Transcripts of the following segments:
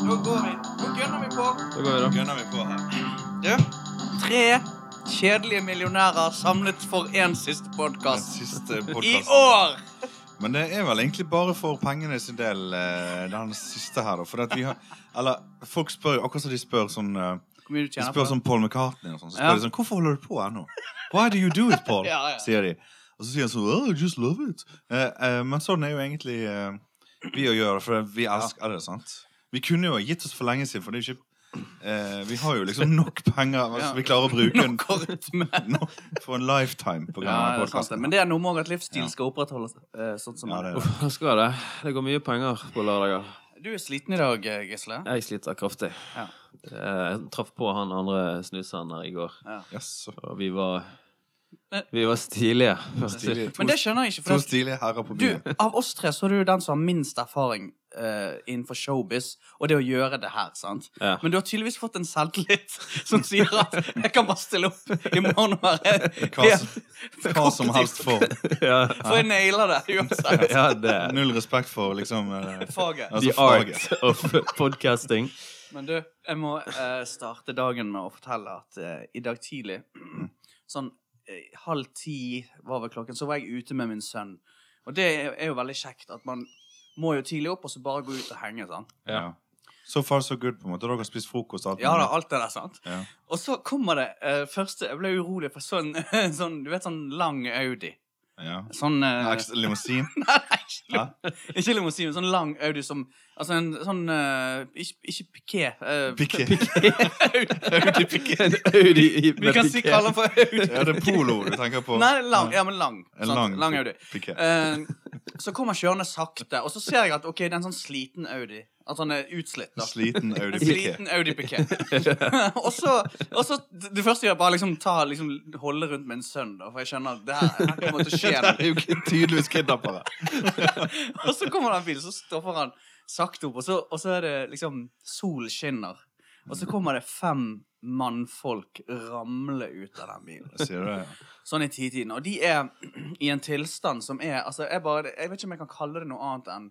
går vi. Nå gunner vi på. Da går vi, da. Gunner vi på her. Du, tre kjedelige millionærer samlet for én siste Den podkast. siste I podcasten. år! Men det er vel egentlig bare for pengene sin del, eh, den siste her, da. For at vi har Eller folk spør jo akkurat som de spør sånn eh, Hvor mye du De tjener spør på det? sånn Paul McCartney og sånn. Så Ja. spør de sånn Hvorfor holder du på ennå? Why do you do it, Paul? Ja, ja. Sier de. Og så sier han sånn oh, I just love it. Eh, eh, men sånn er jo egentlig eh, vi å gjøre, for vi elsker det, sant? Vi kunne jo ha gitt oss for lenge siden, for det er jo ikke eh, Vi har jo liksom nok penger hvis Ja. vi klarer å bruke en, Kort, men nok for en lifetime på grunn ja, det av er sant det. podkasten. Men det er noe med også at livsstil Ja. skal opprettholdes. eh, sånn som Ja, det er det. Uff, han skal det. Det går mye penger på lørdager. Du er sliten i dag, eh, Gisle. Jeg sliter kraftig. Ja. Det- Jeg traff på han andre snuseren her i går, Jaså. og vi var Men- Vi var stilige. Stilige. Men det skjønner jeg ikke. To For det, stilige herrer på du, byen. av oss tre så er du den som har minst erfaring eh, innenfor showbiz og det å gjøre det her. sant? Ja. Men du har tydeligvis fått en selvtillit som sier at 'jeg kan bare stille opp i morgen og være Hva som- helt Hva som helst for. ja. For jeg nailer det uansett. ja, det Null respekt for liksom eh, Faget. The altså, faget. art of podcasting. Altså- Men du, jeg må eh, starte dagen med å fortelle at eh, i dag tidlig, sånn eh, halv ti var vel klokken, så var jeg ute med min sønn. Og det er, er jo veldig kjekt at man må jo tidlig opp, og så bare gå ut og henge, sant? Ja. So far, so good, på en måte. Dere har spist frokost? alt Ja da, mulig. alt det der, sant? Ja. Og så kommer det eh, første, jeg ble urolig for sånn, sånn, du vet, sånn lang Audi. Ja. Sånn... eh, Ekstra Limousin? Nei, ikke Hæ? lim- ikke limousin, men sånn lang Audi som Altså en sånn eh, Ikke, ikke piké. eh, Piqué. Audi piké. En Audi Vi kan si kalle den for Audi. Ja, det er polo du tenker på. Nei, lang, ja, men lang. En sant? lang, lang Audi. piké. Eh, så kommer han kjørende sakte, og så ser jeg at ok, det er en sånn sliten Audi. At han er utslitt. da. Sliten Audi En Piqué. sliten Audi Piqué. og så, og så Det første jeg gjør, bare liksom ta, liksom, holde rundt min sønn, da, for jeg skjønner at det her, her kommer til å skje noe. Det er jo ikke tydeligvis kidnappere. Og så kommer det en bil, så stopper han sakte opp, og så, og så er det liksom Solen skinner. Og så kommer det fem mannfolk ramle ut av den bilen. Sier du det? Sånn i titiden. Og de er i en tilstand som er Altså, jeg bare Jeg vet ikke om jeg kan kalle det noe annet enn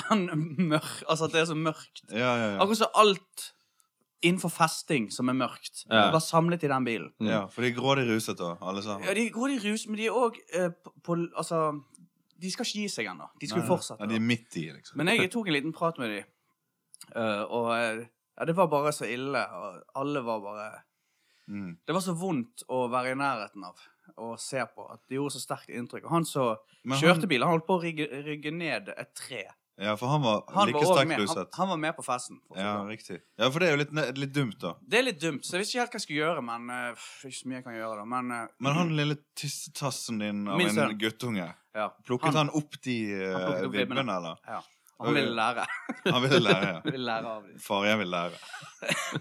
enn mørk. Altså at det er så mørkt. Ja, ja, ja. Akkurat som alt innenfor festing som er mørkt, Ja. var samlet i den bilen. Mm. ja for de er grådig ruset, da, alle sammen. Ja, de går i rus, men de er òg eh, på, på Altså, de skal ikke gi seg ennå. De skulle Nei, fortsette. nei, de er midt i, liksom. Men jeg tok en liten prat med dem, og eh, ja, det var bare så ille. Og alle var bare Mm. Det var så vondt å være i nærheten av og se på. at Det gjorde så sterkt inntrykk. Og han som Men kjørte han- bilen, han holdt på å rygge, rygge ned et tre. Ja, for han var Han, like var, også sterkt med, han, ruset. han var med på festen. for å si Ja, det. sånn. riktig. Ja, for det er jo litt, ne- litt dumt, da. Det er litt dumt, så jeg visste ikke helt hva jeg skulle gjøre. Men eh, pff, ikke så mye jeg kan gjøre da, men eh, Men han lille tissetassen din av Min sønn. en guttunge, ja, plukket han, opp de Han uh, plukket opp vibbene. vibbene, eller? ja, han ville lære. Han ville lære. ja. ville lære av dem. Far, jeg vil lære.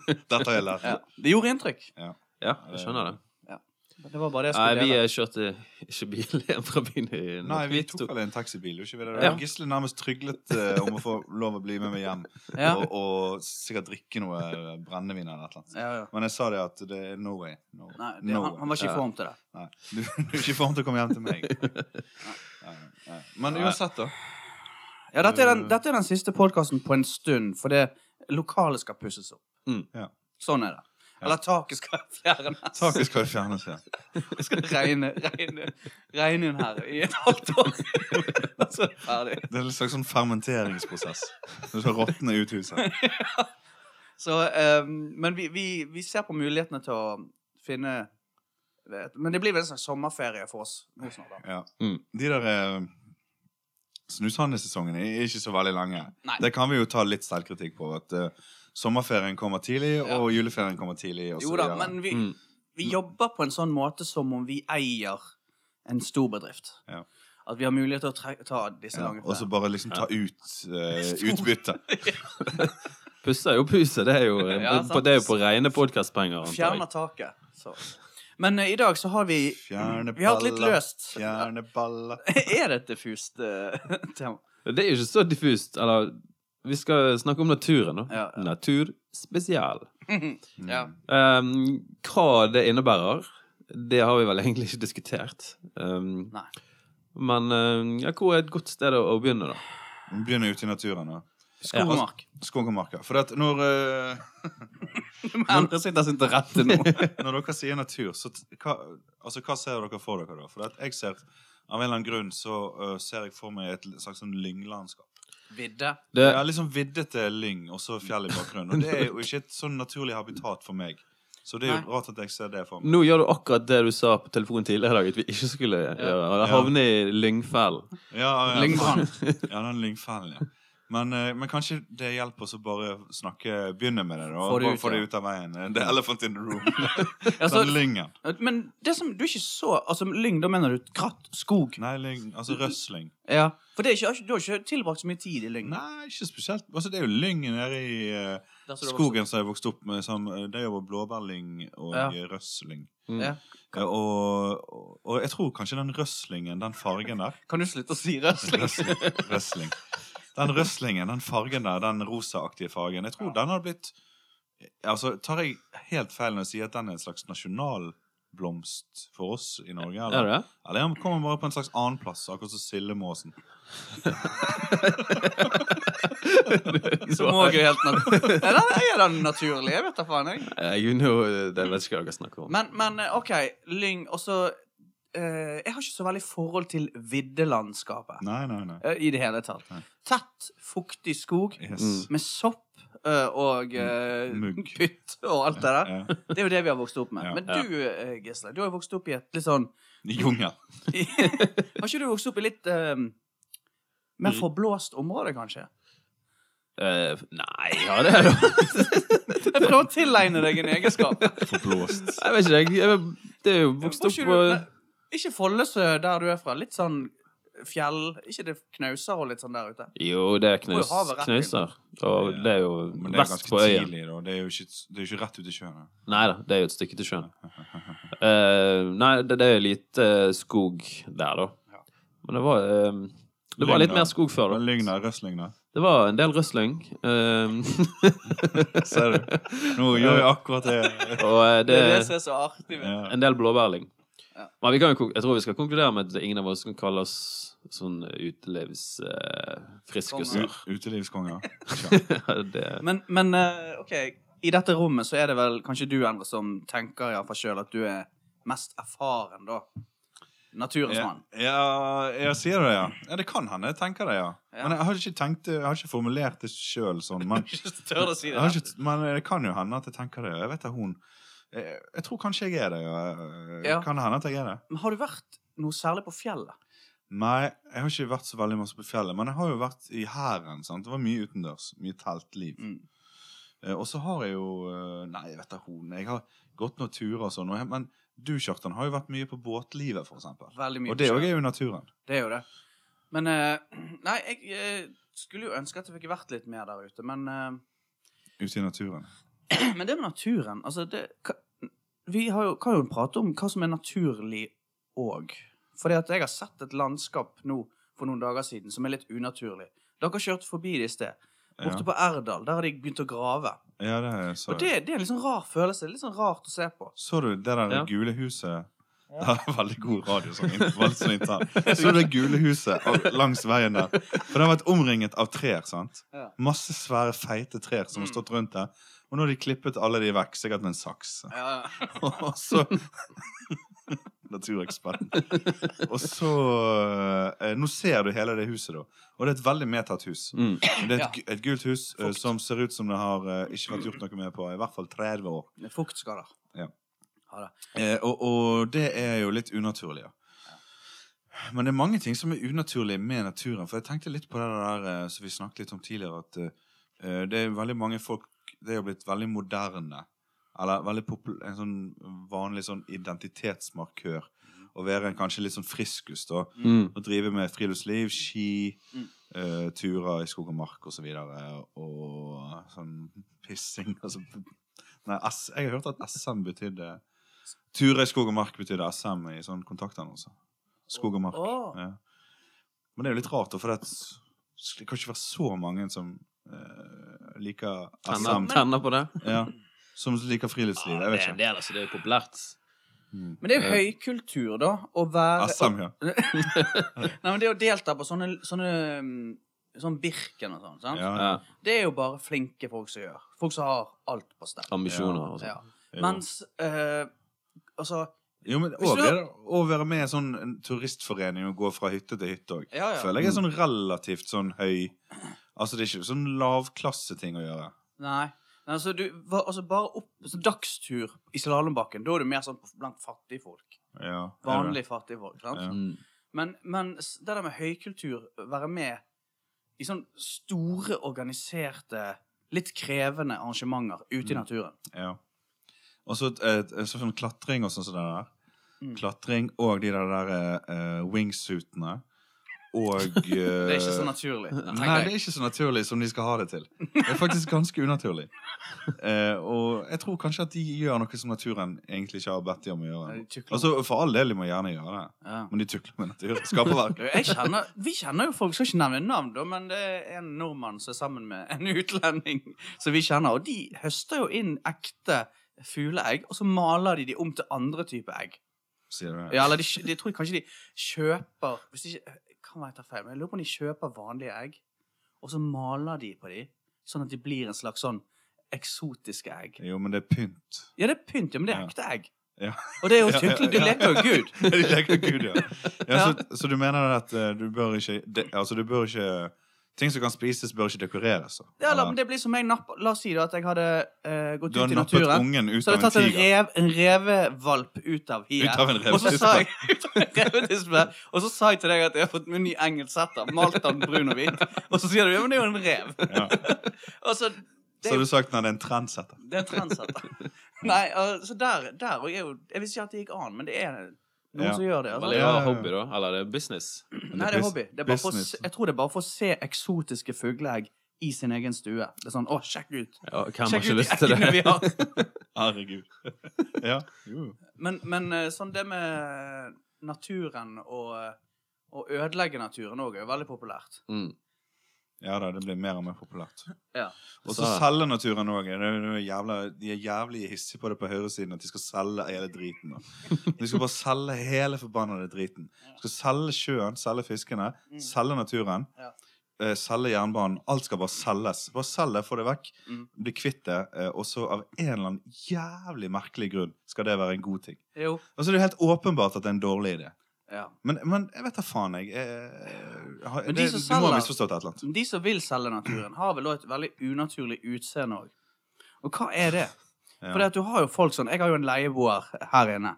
Dette har jeg lært. Ja. Det gjorde inntrykk. Ja, jeg skjønner det. Det var bare det jeg skulle Nei, vi dele. eh, kjørte ikke bil hjem fra byen. i- Nei, vi tok vel en taxibil, gjorde ikke vi det? Ja. Gisle nærmest tryglet eh, om å få lov å bli med meg hjem. Ja. Og, og sikkert drikke noe eh, brennevin eller et eller annet. Ja, ja. Men jeg sa det at det er no way. No, Nei, det, no han, han var ikke i Ja. form til det. Nei. Du, du er ikke i form til å komme hjem til meg. Nei, nei. Men Nei. uansett, da. Ja, dette er den, Mm. dette er den siste podkasten på en stund, for det lokalet skal pusses opp. Mm. Ja. Sånn er det. Eller taket skal fjernes. Taket skal jo fjernes. Ja. Det skal regne, regne, regne inn her i et halvt år. Og Altså, så er det ferdig. Det er en slags sånn fermenteringsprosess. Du skal råtne ut huset. Så, eh, men vi, vi, vi ser på mulighetene til å finne vet, Men det blir vel en slags sommerferie for oss nå snart. da. Ja. Mm. De der eh, snushandelsesongene er ikke så veldig lange. Nei. Det kan vi jo ta litt selvkritikk på. At eh, sommerferien kommer tidlig, Ja. og juleferien kommer tidlig. Og så Jo da, videre. men vi, Mm. vi jobber på en sånn måte som om vi eier en stor bedrift. Ja. At vi har mulighet til å tre ta disse ja, lange Og så bare liksom ta ut eh, utbytte. Pusser jo puset. Det er jo, Ja, sant. på, det er jo på rene podkastpenger, antar Fjerner jeg. taket. Så. Men eh, i dag så har vi Fjerne Vi har hatt litt baller. løst. Fjerne baller. Er det et diffust eh, tema? Det er jo ikke så diffust. Eller vi skal snakke om naturen nå. Ja, ja. Natur spesial. Mm. Ja. Um, hva det innebærer, det har vi vel egentlig ikke diskutert. ehm, Um, Nei. men um, ja, hvor er et godt sted å å begynne, da? Vi begynner ute i naturen. da Skomark. Skogermarka. For at når, eh, Andre sitter sin til rette nå. når dere sier natur, så t- hva, altså, hva ser dere for dere da? For at jeg ser, av en eller annen grunn så eh, ser jeg for meg et l- slags sånn lynglandskap. Vidde. Det, Ja, liksom viddete lyng og så fjell i bakgrunnen. Og det er jo ikke et sånn naturlig habitat for meg. Så det er jo rart at jeg ser det for meg. Nå gjør du akkurat det du sa på telefonen tidligere i dag at vi ikke skulle gjøre. Og det havner i lyngfellen. Ja, ja, ja. Lyngbrann. ja den lyngfellen, ja. Men, eh, men kanskje det hjelper oss å bare snakke, begynne med det, da. Få det Bare ut, Få det ja. ut av veien. The elephant in the room. Altså, Den lyngen. men det som du ikke så Altså, lyng, da mener du kratt? Skog? Nei, lyng. Altså røsling. Ja. For det er ikke, du har ikke tilbrakt så mye tid i lyng? Nei, ikke spesielt. Altså, det er jo lyng nede i eh, Der som du har vokst skogen som jeg vokste opp med. Som, eh, det er jo blåbærlyng og Ja. røsling. Mm. Ja. Eh, Og, og, og jeg tror kanskje den røslingen, den fargen der Kan du slutte å si røsling? Røsling. Røsling. Den røslingen, den fargen der, den rosaaktige fargen, jeg tror den har blitt Altså, tar jeg helt feil når jeg sier at den er en slags nasjonalblomst for oss i Norge? Er Eller, det det? eller den kommer bare på en slags annen plass, akkurat som sildemåsen. Som òg er helt naturlig. Nei, den er den naturlige, jeg vet da faen. jeg. Jeg nå, eh, det vet ikke hva dere snakker om. Men, men eh, OK, lyng. Og så eh, Jeg har ikke så veldig forhold til viddelandskapet Nei, nei, nei. eh, i det hele tatt. Nei. Tett, fuktig skog Mm. Yes. med sopp eh, og eh, Mugg. pytt og alt det der. Ja. Det er jo det vi har vokst opp med. Ja. Men Ja. du, eh, Gisle, du har jo vokst opp i et litt sånn Jungel. Har ikke du vokst opp i litt eh, mer Mm. forblåst område, kanskje? Eh, nei, ja, det er det. Jeg prøver å tilegne deg en egenskap. Forblåst. Jeg vet ikke, jeg, jeg, det er jo vokst Var opp ikke på du- nei, Ikke Follesø, der du er fra. Litt sånn fjell Ikke det knauser og litt sånn der ute? Jo, det er knaus, Må jo havet rett inn. knauser. Og Ja. det er jo Men det er vest ganske på øya. tidlig, da. Det er jo ikke, det er jo ikke rett ut i sjøen. da. Nei da, det er jo et stykke til sjøen. Eh, nei, det, det er jo lite eh, skog der, da. Ja. Men det var eh, Det var litt Lyngdal. mer skog før, Men da. Lyng der, røsling der. Det var en del røsling. eh, Ser du? Nå gjør jeg akkurat det. og eh, Det det er det som er så artig. Med. Ja. En del blåbærling. Ja. Men vi kan jo, kon- jeg tror vi skal konkludere med at ingen av oss kan kalle oss sånn eh, utelivsfriskuser. U- Utelivskonger. det Men, men eh, OK, i dette rommet så er det vel kanskje du, Endre, som tenker iallfall sjøl at du er mest erfaren, da. Naturens Ja, mann. ja, jeg sier det, ja. ja. Det kan hende. Jeg tenker det, ja. Ja. Men jeg har ikke, tenkt, det- jeg har ikke formulert det sjøl sånn. Men, Ikke tør å si jeg det. har da. ikke, men det kan jo hende at jeg tenker det. ja. Jeg vet at hun jeg, jeg tror kanskje jeg er det. Ja. Ja. Kan det hende at jeg er det? Men har du vært noe særlig på fjellet? Nei, jeg har ikke vært så veldig masse på fjellet. Men jeg har jo vært i hæren. sant? Det var mye utendørs. Mye teltliv. Mm. Eh, Og så har jeg jo eh, Nei, jeg vet da hun. Jeg har gått noen turer og sånn. og jeg- Men du, Kjartan, har jo vært mye på båtlivet, for eksempel. Veldig mye. Og det på òg sjøen. er jo naturen. Det er jo det. Men eh, Nei, jeg eh, skulle jo ønske at jeg fikk vært litt mer der ute, men eh, Ute i naturen. Men det med naturen Altså, det hva- Vi har jo, kan jo prate om hva som er naturlig òg. Fordi at jeg har sett et landskap nå for noen dager siden som er litt unaturlig. Dere kjørte forbi det i sted. Ja, Borte på Erdal. Der har de begynt å grave. ja det så Og det, jeg. det er en litt sånn rar følelse. Litt sånn rart å se på. Så du det der Ja. gule huset? Det er veldig god radio. Sånn, inn- veldig sånn intern. Så du det gule huset av- langs veien der? For det har vært omringet av trær. sant? Ja. Masse svære, feite trær som har Mm. stått rundt der. Og nå har de klippet alle de vekk, sikkert med en saks. Ja, Og så Natureksperten. Og så eh, Nå ser du hele det huset, da. Og det er et veldig medtatt hus. mm. Det er Ja. et, gu- et gult hus eh, Fukt. som ser ut som det har eh, ikke vært gjort noe med på i hvert fall 30 år. Fuktskader. Eh, og, og det er jo litt unaturlig, ja. Men det er mange ting som er unaturlig med naturen. For jeg tenkte litt på det der eh, som vi snakket litt om tidligere, at eh, det er veldig mange folk Det er jo blitt veldig moderne. Eller veldig popul en sånn vanlig sånn identitetsmarkør. Å være en kanskje litt sånn friskus, da. Mm. Å drive med friluftsliv, ski, Mm. eh, turer i skog og mark osv. Og, så videre, og sånn pissing altså, Nei, S, jeg har hørt at SM betydde Turer i skog og mark betydde SM i sånn kontaktannonser. Skog og mark. Å. Ja. Men det er jo litt rart, da, for det, at- det kan ikke være så mange som eh, liker Tenner, SM. tenner på det. Ja, som liker friluftsliv. Jeg det er vet en ikke. del, altså. Det er jo populært. Mm. Men det er jo høykultur, da, å være Altså, SM, ja. Nei, men det å delta på sånne, sånne mm, sånn Birken og sånn. sant? Ja, Ja. Det er jo bare flinke folk som gjør. Folk som har alt på stell. Ambisjoner og sånn. Ja. Mens eh, Altså Jo, men Hvis og du- det å være med i en sånn en turistforening og gå fra hytte til hytte òg. Ja, ja. Føler jeg er sånn relativt sånn høy Altså, det er ikke sånn lavklasseting å gjøre. Nei. Men Altså, du, hva- altså bare opp så Dagstur i slalåmbakken, da er du mer sånn på- blant fattigfolk. Ja, er det det? Vanlige fattigfolk. sant? Ja. Mm. Men, men s- det der med høykultur, være med i sånn store, organiserte, litt krevende arrangementer ute i Mm. naturen. Ja. Og så et- et- et sånn klatring og sånn som det der. Mm. Klatring og de der, der eh, wingsuitene. Og eh, Det er ikke så naturlig. Nei, tenker det jeg. er ikke så naturlig som de skal ha det til. Det er faktisk ganske unaturlig. Eh, og jeg tror kanskje at de gjør noe som naturen egentlig ikke har bedt de om å gjøre. De tukler. Altså, For all del, de må gjerne gjøre det, Ja. men de tukler med naturen. Skaperverk. Du, Jeg kjenner, vi kjenner jo folk, skal ikke nevne navn, da, men det er en nordmann som er sammen med en utlending som vi kjenner, og de høster jo inn ekte fugleegg, og så maler de de om til andre typer egg. Sier du det? Ja, eller de, kjø- de tror kanskje de kjøper Hvis de ikke Kan være jeg tar feil, men jeg lurer på om de kjøper vanlige egg, og så maler de på de, sånn at de blir en slags sånn eksotiske egg. Jo, men det er pynt. Ja, det er pynt, ja, men det er Ja. ekte egg. Ja. Og det er jo Ja, ja, tuklet. De ja. leker jo Gud. De leker Gud, ja. ja så, så du mener at eh, du bør ikke de, Altså, du bør ikke Ting som kan spises, bør ikke dekoreres. så. Ja, la, men det blir som jeg napp, La oss si da at jeg hadde eh, gått du har ut i nappet naturen. ungen ut Så hadde av jeg en tatt en, tiger. rev, en revevalp ut av hiet. Ut av en og så revetispe. sa jeg ut av en revetispe, Og så sa jeg til deg at jeg har fått min ny engelsetter. Malt den brun og hvit. Og så sier du ja, men det er jo en rev. Ja. Og så, Så er har jo- du sagt nei, det er en trendsetter. det er en trendsetter. Nei, og, så der, der og jeg, er jo- jeg visste ikke at det gikk an, men det er noen Ja. som gjør det. Altså. Veldig Ja, ja, rar ja. hobby, da. Eller det er business. Nei, det er hobby. Det er bare for, å business. se- jeg tror det er bare for å se eksotiske fugleegg i sin egen stue. Det er sånn, å, sjekk ut. Ja, hvem har Sjekk ikke ut de lyst til eggene vi det? har. Herregud. ja. Jo. Men, men eh, sånn det med naturen og å ødelegge naturen òg er jo veldig populært. Mm. Ja da, det blir mer og mer populært. Ja. Og så Så- selger naturen òg. De er jævlig hissige på det på høyresiden at de skal selge hele driten. nå. De skal bare selge hele forbannede driten. De skal selge sjøen, selge fiskene, Mm. selge naturen. Ja. eh, Selge jernbanen. Alt skal bare selges. Bare selg det, få det vekk. Mm. Bli kvitt det. eh, Og så av en eller annen jævlig merkelig grunn skal det være en god ting. Jo. Altså Det er jo helt åpenbart at det er en dårlig idé. Ja. Men, men jeg vet da faen, jeg. eh, har- Men de det, som du må ha selger- misforstått et eller annet. De som vil selge naturen, har vel òg et veldig unaturlig utseende òg. Og hva er det? Ja. For du har jo folk sånn Jeg har jo en leieboer her inne.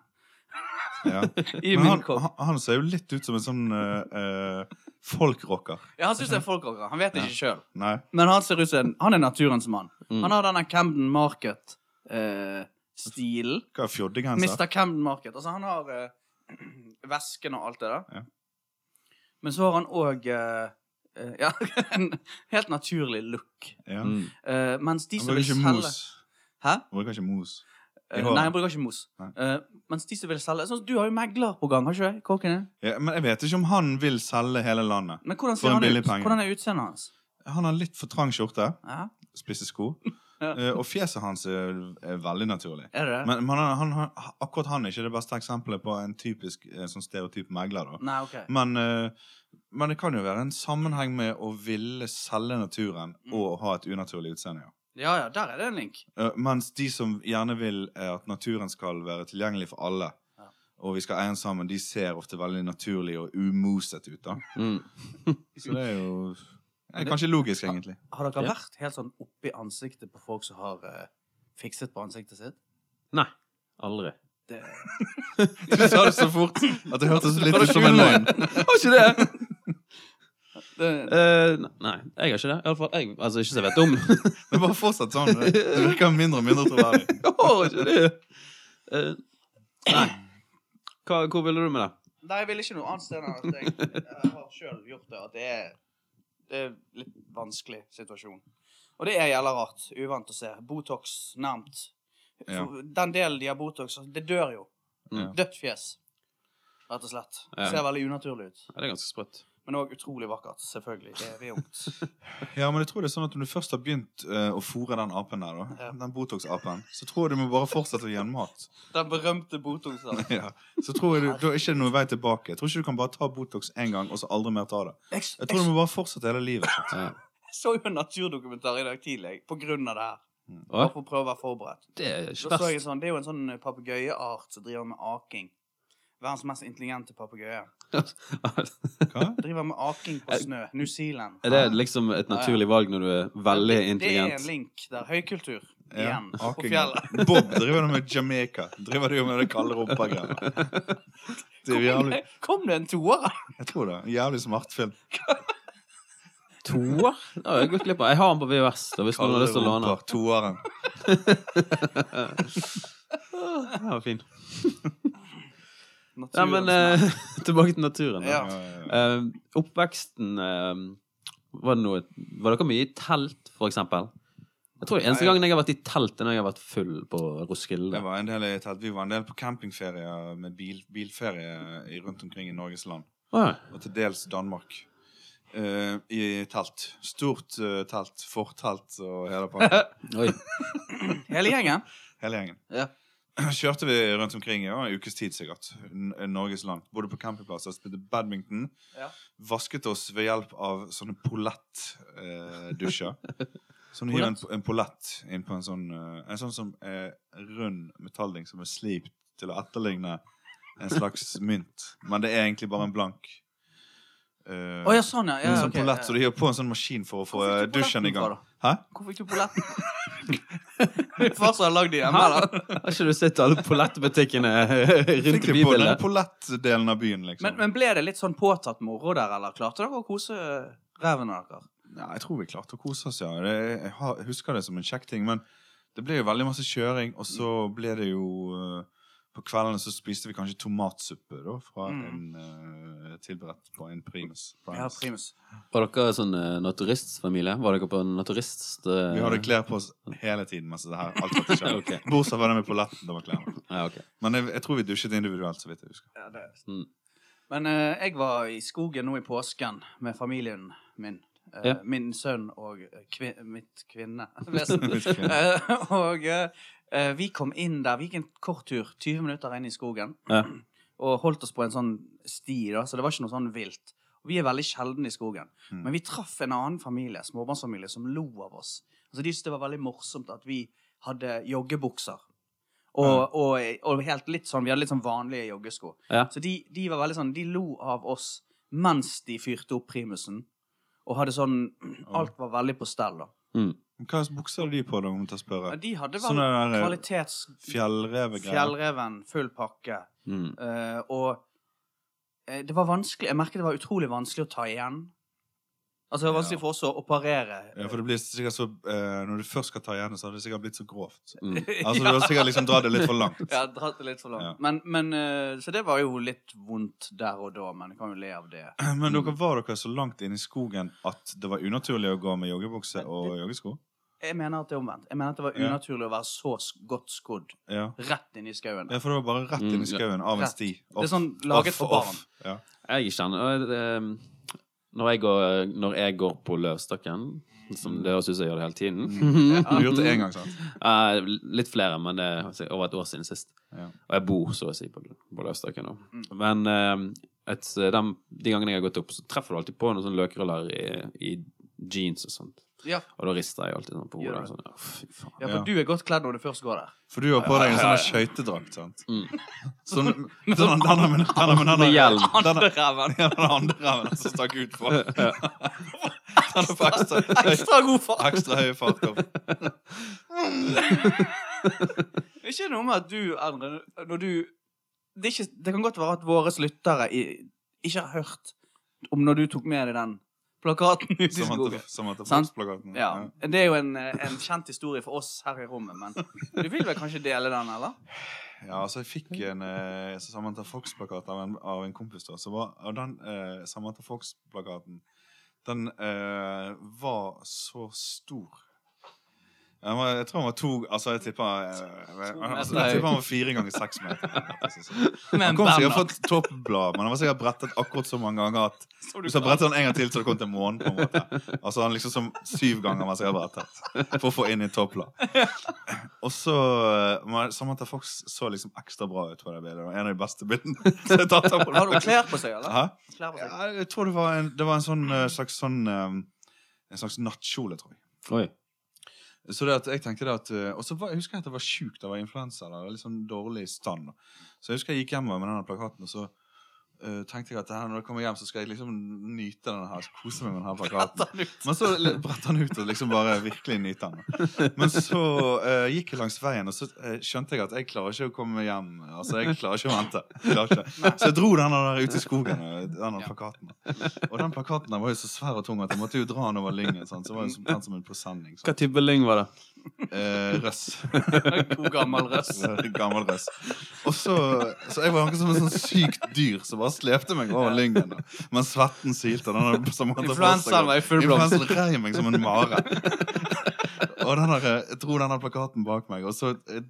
I Ja. Men min han, kopp. han, han ser jo litt ut som en sånn eh, eh, folkrocker. Ja, han syns det er folkrocker. Han vet det ikke sjøl. Nei. Men han ser ut som en Han er naturens mann. Mm. Han har denne Camden eh, Market-stilen. Hva er fjoddegenser? Mr. Camden Market. Altså, han har eh, vesken og alt det der. Ja. Men så har han òg ja, en helt naturlig look. Ja. Mm. Eh, mens de Han som vil bruker ikke selge mos. Hæ? Han bruker ikke mos. Eh, Jeg har- nei, han bruker ikke mos. Nei. Eh, mens de som vil selge sånn, som Du har jo megler på gang, har ikke du? Kåken din. Ja, men jeg vet ikke om han vil selge hele landet. Men hvordan ser For en han billig ut? penge. Hvordan er utseendet hans? Han har litt for trang skjorte, Ja, spisse sko, Ja. eh, og fjeset hans er, er veldig naturlig. er det det? Men, men han, han, han, akkurat han er ikke det beste eksempelet på en typisk eh, sånn stereotyp megler. da. nei, OK. Men, eh, men det kan jo være en sammenheng med å ville selge naturen Mm. og ha et unaturlig utseende. ja. Ja ja, der er det en link. Eh, mens de som gjerne vil eh, at naturen skal være tilgjengelig for alle, Ja. og vi skal eie den sammen, de ser ofte veldig naturlig og umoset ut. da. Mm. Så det er jo det er kanskje logisk, egentlig. Har dere Ja. vært helt sånn oppi ansiktet på folk som har eh, fikset på ansiktet sitt? Nei. Aldri. Det Du sa det så fort at det hørtes litt Var ut det som en kul løgn. Har ikke det! det- Eh, nei, jeg har ikke det. Iallfall jeg. Altså, ikke så jeg vet om. Det er bare fortsatt sånn. Det det virker mindre og mindre troverdig. jeg har ikke det! Eh, nei. Hva, hvor ville du med det? Nei, jeg vil ikke noe annet sted enn at jeg, jeg har sjøl gjort det. At det er, det er litt vanskelig situasjon. Og det er jævla rart. Uvant å se. Botox nærmt. For Ja. Den delen de har Botox, altså, det dør jo. Mm. Dødt fjes. Rett og slett. Ja. Ser veldig unaturlig ut. Ja, det er ganske sprøtt. Men òg utrolig vakkert, selvfølgelig. Det er ungt. Ja, men jeg tror det er sånn at når du først har begynt eh, å fôre den apen der, da, Ja. den Botox-apen, så tror jeg du må bare fortsette å gi den mat. Den berømte Botox-en. ja. Så tror jeg du, da er ikke det noen vei tilbake. Jeg tror ikke du kan bare ta Botox én gang, og så aldri mer ta det. Jeg, Jeg tror du må bare fortsette hele livet. Ja. jeg så jo en naturdokumentar i dag tidlig på grunn av det her. Å, Bare for å prøve å være forberedt. det er ikke Da så jeg verst. en sånn, det er jo en sånn papegøyeart som driver med aking. Verdens mest intelligente papegøye. Hva? Driver med aking på snø. New Zealand. Ah. Er det liksom et naturlig valg når du er veldig Det er en intelligent? link der. Høykultur. Ja, Igjen. På aking. fjellet. Bob driver nå med Jamaica. Driver du med det kalde rumpa-greiene. Det er Kom jævlig, det, kom det en toer? jeg tror det. En jævlig smart film. Toer? Det har jeg gått glipp av. Jeg har den på VHS. Da, hvis noen har Kalde lyst til å låne rumpa, toeren. den. Den var fin. Nei, Naturens men navn. eh, tilbake til naturen. Da. Ja. Ja, ja, ja. Eh, oppveksten eh, var, det noe, var dere mye i telt, for eksempel? Jeg tror eneste Nei. gangen jeg har vært i telt, er når jeg har vært full på Roskilde. Det var en del i telt. Vi var en del på campingferie med bil, bilferie i- rundt omkring i Norges land. Å, ja. Og til dels Danmark. Eh, I telt. Stort eh, telt. Fortelt og hele pakka. Oi. Hele gjengen? Hele gjengen. Ja. Kjørte vi rundt omkring i ja, en ukes tid, sikkert. N eh, Norges land. Bodde på campingplasser, spilte badminton. Ja. Vasket oss ved hjelp av sånne eh, polett-dusjer. sånn hiver en, en polett inn på en sånn eh, En sånn som er rund metallding som er slipt til å etterligne en slags mynt. Men det er egentlig bare en blank. eh, Å ja, sånn, ja. ja en sånn ok, polett, ja. så du hiver på en sånn maskin for å få Hvorfor eh, ikke dusjen i polletten gang. fra, Hæ? Hvor fikk du polletten? Far som har lagd de hjemme, Hæ? eller? Har ikke du sett alle pollettbutikkene rundt Fikk i vi på den bybildet? pollettdelen av byen, liksom? Men, men ble det litt sånn påtatt moro der, eller? Klarte dere å kose ræven av dere? Nei, jeg tror vi klarte å kose oss, ja. Det, jeg har- jeg husker det som en kjekk ting, men det ble jo veldig masse kjøring, og Mm. så ble det jo eh, På kveldene så spiste vi kanskje tomatsuppe, da, fra Mm. en eh, tilberedt på en primus. Ja, primus. Var dere sånn eh, naturistfamilie? Var dere på en naturist... eh, Vi hadde klær på oss hele tiden mens det her alt dette skjedde. Ok. Bortsett fra det med polletten. det var klærne. Ja, ok. Men jeg, jeg tror vi dusjet individuelt, så vidt jeg husker. Ja, det. Mm. Men eh, jeg var i skogen nå i påsken med familien min. Eh, Ja. Min sønn og eh, kvi, mitt kvinnevesen. Mitt kvinne. Eh, og eh, eh, vi kom inn der. Vi gikk en kort tur, 20 minutter inn i skogen. Ja. Og holdt oss på en sånn sti, da, så det var ikke noe sånn vilt. Og vi er veldig sjelden i skogen. Mm. Men vi traff en annen familie, småbarnsfamilie, som lo av oss. Altså, de syntes det var veldig morsomt at vi hadde joggebukser. Og, og, og helt litt sånn, vi hadde litt sånn vanlige joggesko. Ja. Så de, de var veldig sånn, de lo av oss mens de fyrte opp primusen. Og hadde sånn Alt var veldig på stell, da. Mm. Men Hva slags bukser hadde de på, da, om jeg tar spørre? Men de hadde vel Sånne der, eh, kvalitets... Fjellrevegreier. Fjellreven, full pakke. Mm. Eh, og eh, det var vanskelig Jeg merket det var utrolig vanskelig å ta igjen. Altså, det var vanskelig Ja. for oss å operere. Ja, for det blir sikkert så, eh, Når du først skal ta igjen, så har det sikkert blitt så grovt. Mm. Altså, Du har sikkert liksom dratt det litt for langt. Ja, dratt det litt for langt. Ja. Men, men, eh, så det var jo litt vondt der og da, men jeg kan jo le av det. Eh, Men dere var dere så langt inne i skogen at det var unaturlig å gå med joggebukse og joggesko? Jeg mener at det er omvendt. Jeg mener at det var Ja. unaturlig å være så s- godt skodd Ja. rett inn i skauen. ja, for det var bare rett inn i skauen av Mm, en Rett. sti. Det er sånn laget for barn. off. Ja. Jeg kjenner eh, når, jeg går, når jeg går på løvstakken, som det høres ut som jeg gjør det hele tiden Du har gjort det én gang, sant? Eh, Litt flere, men det er altså over et år siden sist. Ja. Og jeg bor så å si på, på løvstakken nå. Men eh, et, de, de gangene jeg har gått opp, så treffer du alltid på noen sånne løkruller i, i jeans og sånt. Ja. Og da rister jeg alltid sånn på Gjør hodet. det. Sånn, ja, fy faen. ja, for Ja. du er godt kledd når du først går der. For du har på deg en sånn skøytedrakt, sant? Mm. Sånn, sånn den med Med hjelm. Den Andre reven. ja, den andre reven som stakk ut på. Den er på ekstra, Ekstra god far. ekstra høy fart opp. Ikke noe med at du, Endre, når du det, er ikke, det kan godt være at våre lyttere i, ikke har hørt om når du tok med deg den plakaten ut i Som at, skogen. det- som at det Sant? plakaten. Ja, Det er jo en, eh, en kjent historie for oss her i rommet, men du vil vel kanskje dele den, eller? Ja, altså jeg fikk en eh, Samantha Fox-plakat av, en- av en kompis da, så var, og den eh, Samantha Fox-plakaten, den eh, var så stor Han var, jeg tror han var to Altså, jeg tipper eh, altså, Jeg tipper han var fire ganger seks meter. Men Han kom sikkert Bernhard, fra toppblad, men han var sikkert brettet akkurat så mange ganger at som du hvis han brettet den sånn en gang til, så det kom til månen. på en måte. Altså han liksom som syv ganger var sikkert brettet for å få inn i toppblad. Og så eh, men Samantha Fox så liksom ekstra bra ut på det bildet. Det var en av de beste bildene. Så jeg tatt av på Har hun det. klær på seg, eller? Hæ? Klær på seg. Ja, jeg tror det var en, det var en sånn eh, slags sånn eh, En slags nattkjole, tror jeg. Oi. Så det at jeg tenkte det at eh, Og så var, jeg husker jeg at det var sjukt. Det var influensa. Det var liksom dårlig stand. Så jeg husker jeg gikk hjemover med denne plakaten, og så eh, tenkte jeg at det her, når jeg kommer hjem, så skal jeg liksom nyte denne her. Kose meg med denne Bretter plakaten. den ut. Men så le- bretter han ut og liksom bare virkelig nyter den. Men så eh, gikk jeg langs veien, og så eh, skjønte jeg at jeg klarer ikke å komme meg hjem. Altså, jeg klarer ikke å vente. Jeg klarer ikke. Så jeg dro den der ute i skogen, eh, den Ja. plakaten. Og den plakaten der var jo så svær og tung at jeg måtte jo dra den over lyngen. sant? Så det var jo som- den som en presenning. Hva sånn. type lyng var det? Eh, røss. God gammel røst. Gammel røss. Og så, så jeg var akkurat som en sånn sykt dyr som bare slepte meg over lyngen. da. Mens svetten sylte. og den der- som han tar på seg, Influensaen var i full blomst. Influensaen rei meg som en mare. Og den der, jeg dro denne plakaten bak meg, og så eh,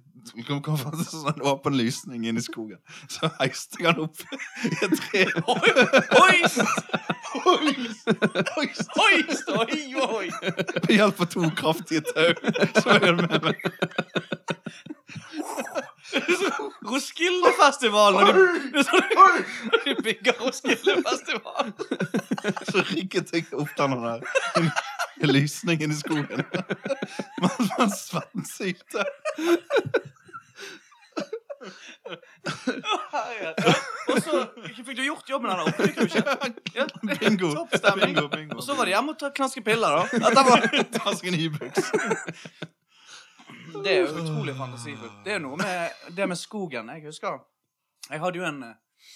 kom, kom faktisk en sånn åpen lysning inn i skogen. Så heiste jeg den opp i et tre. Oi, hoist! Hoist! Hoist, hoist! Oi, oi! Med hjelp av to kraftige tau. Som jeg hadde med meg. Roskildefestivalen! og de- Det er sånn når de bygger Roskildefestivalen. Så rigget jeg opp den der lysningen i skogen. Mens mens svetten sylte. Og så fikk du gjort jobben der, da. Fikk du ikke? Ja. Bingo. Topp stemning. Bingo, bingo. Og så var det hjemme og ta knaske piller, da. Dette var... Ta seg en Ibux. Det er jo utrolig fantasifullt. Det er jo noe med det med skogen. Jeg husker Jeg hadde jo en eh,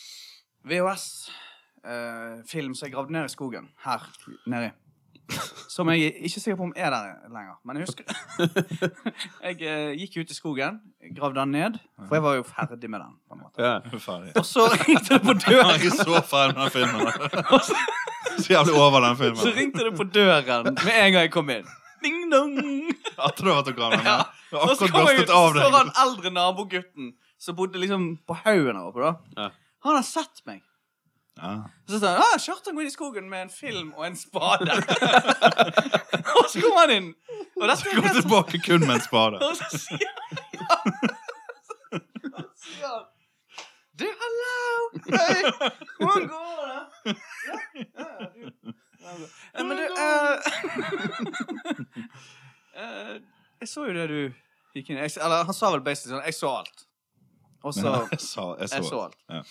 VHS-film eh, som jeg gravde ned i skogen her nedi. Som jeg er ikke sikker på om er der lenger. Men jeg husker Jeg eh, gikk ut i skogen, gravde den ned, for jeg var jo ferdig med den. på en måte. Ja. Ferdig. Og så ringte det på Jeg er døren. ikke så ferdig med den filmen. Og så Så jævlig over den så filmen. ringte det på døren med en gang jeg kom inn. Ding-dong! At du har vært og gravd den Ja. ned. Du Og har så akkurat kommer jeg ut, børstet så av står deg. han eldre nabogutten som bodde liksom på haugen her oppe, da. Ja. Han har sett meg. Ja. Så sa han ah, 'Kjartan går inn i skogen med en film og en spade'. og så kommer han inn. Og dette er Gå helt tilbake kun med en spade. Og så sier han Og så sier han Du, hello! Hei! Hvordan går det? Ja, ja, ja, du. Ja, bra. Eh, Men du eh, eh, Jeg så jo det du gikk inn i. Jeg s- Eller han sa vel basically sånn Jeg så alt. Og så Men jeg så, jeg Jeg så så. alt. Ja.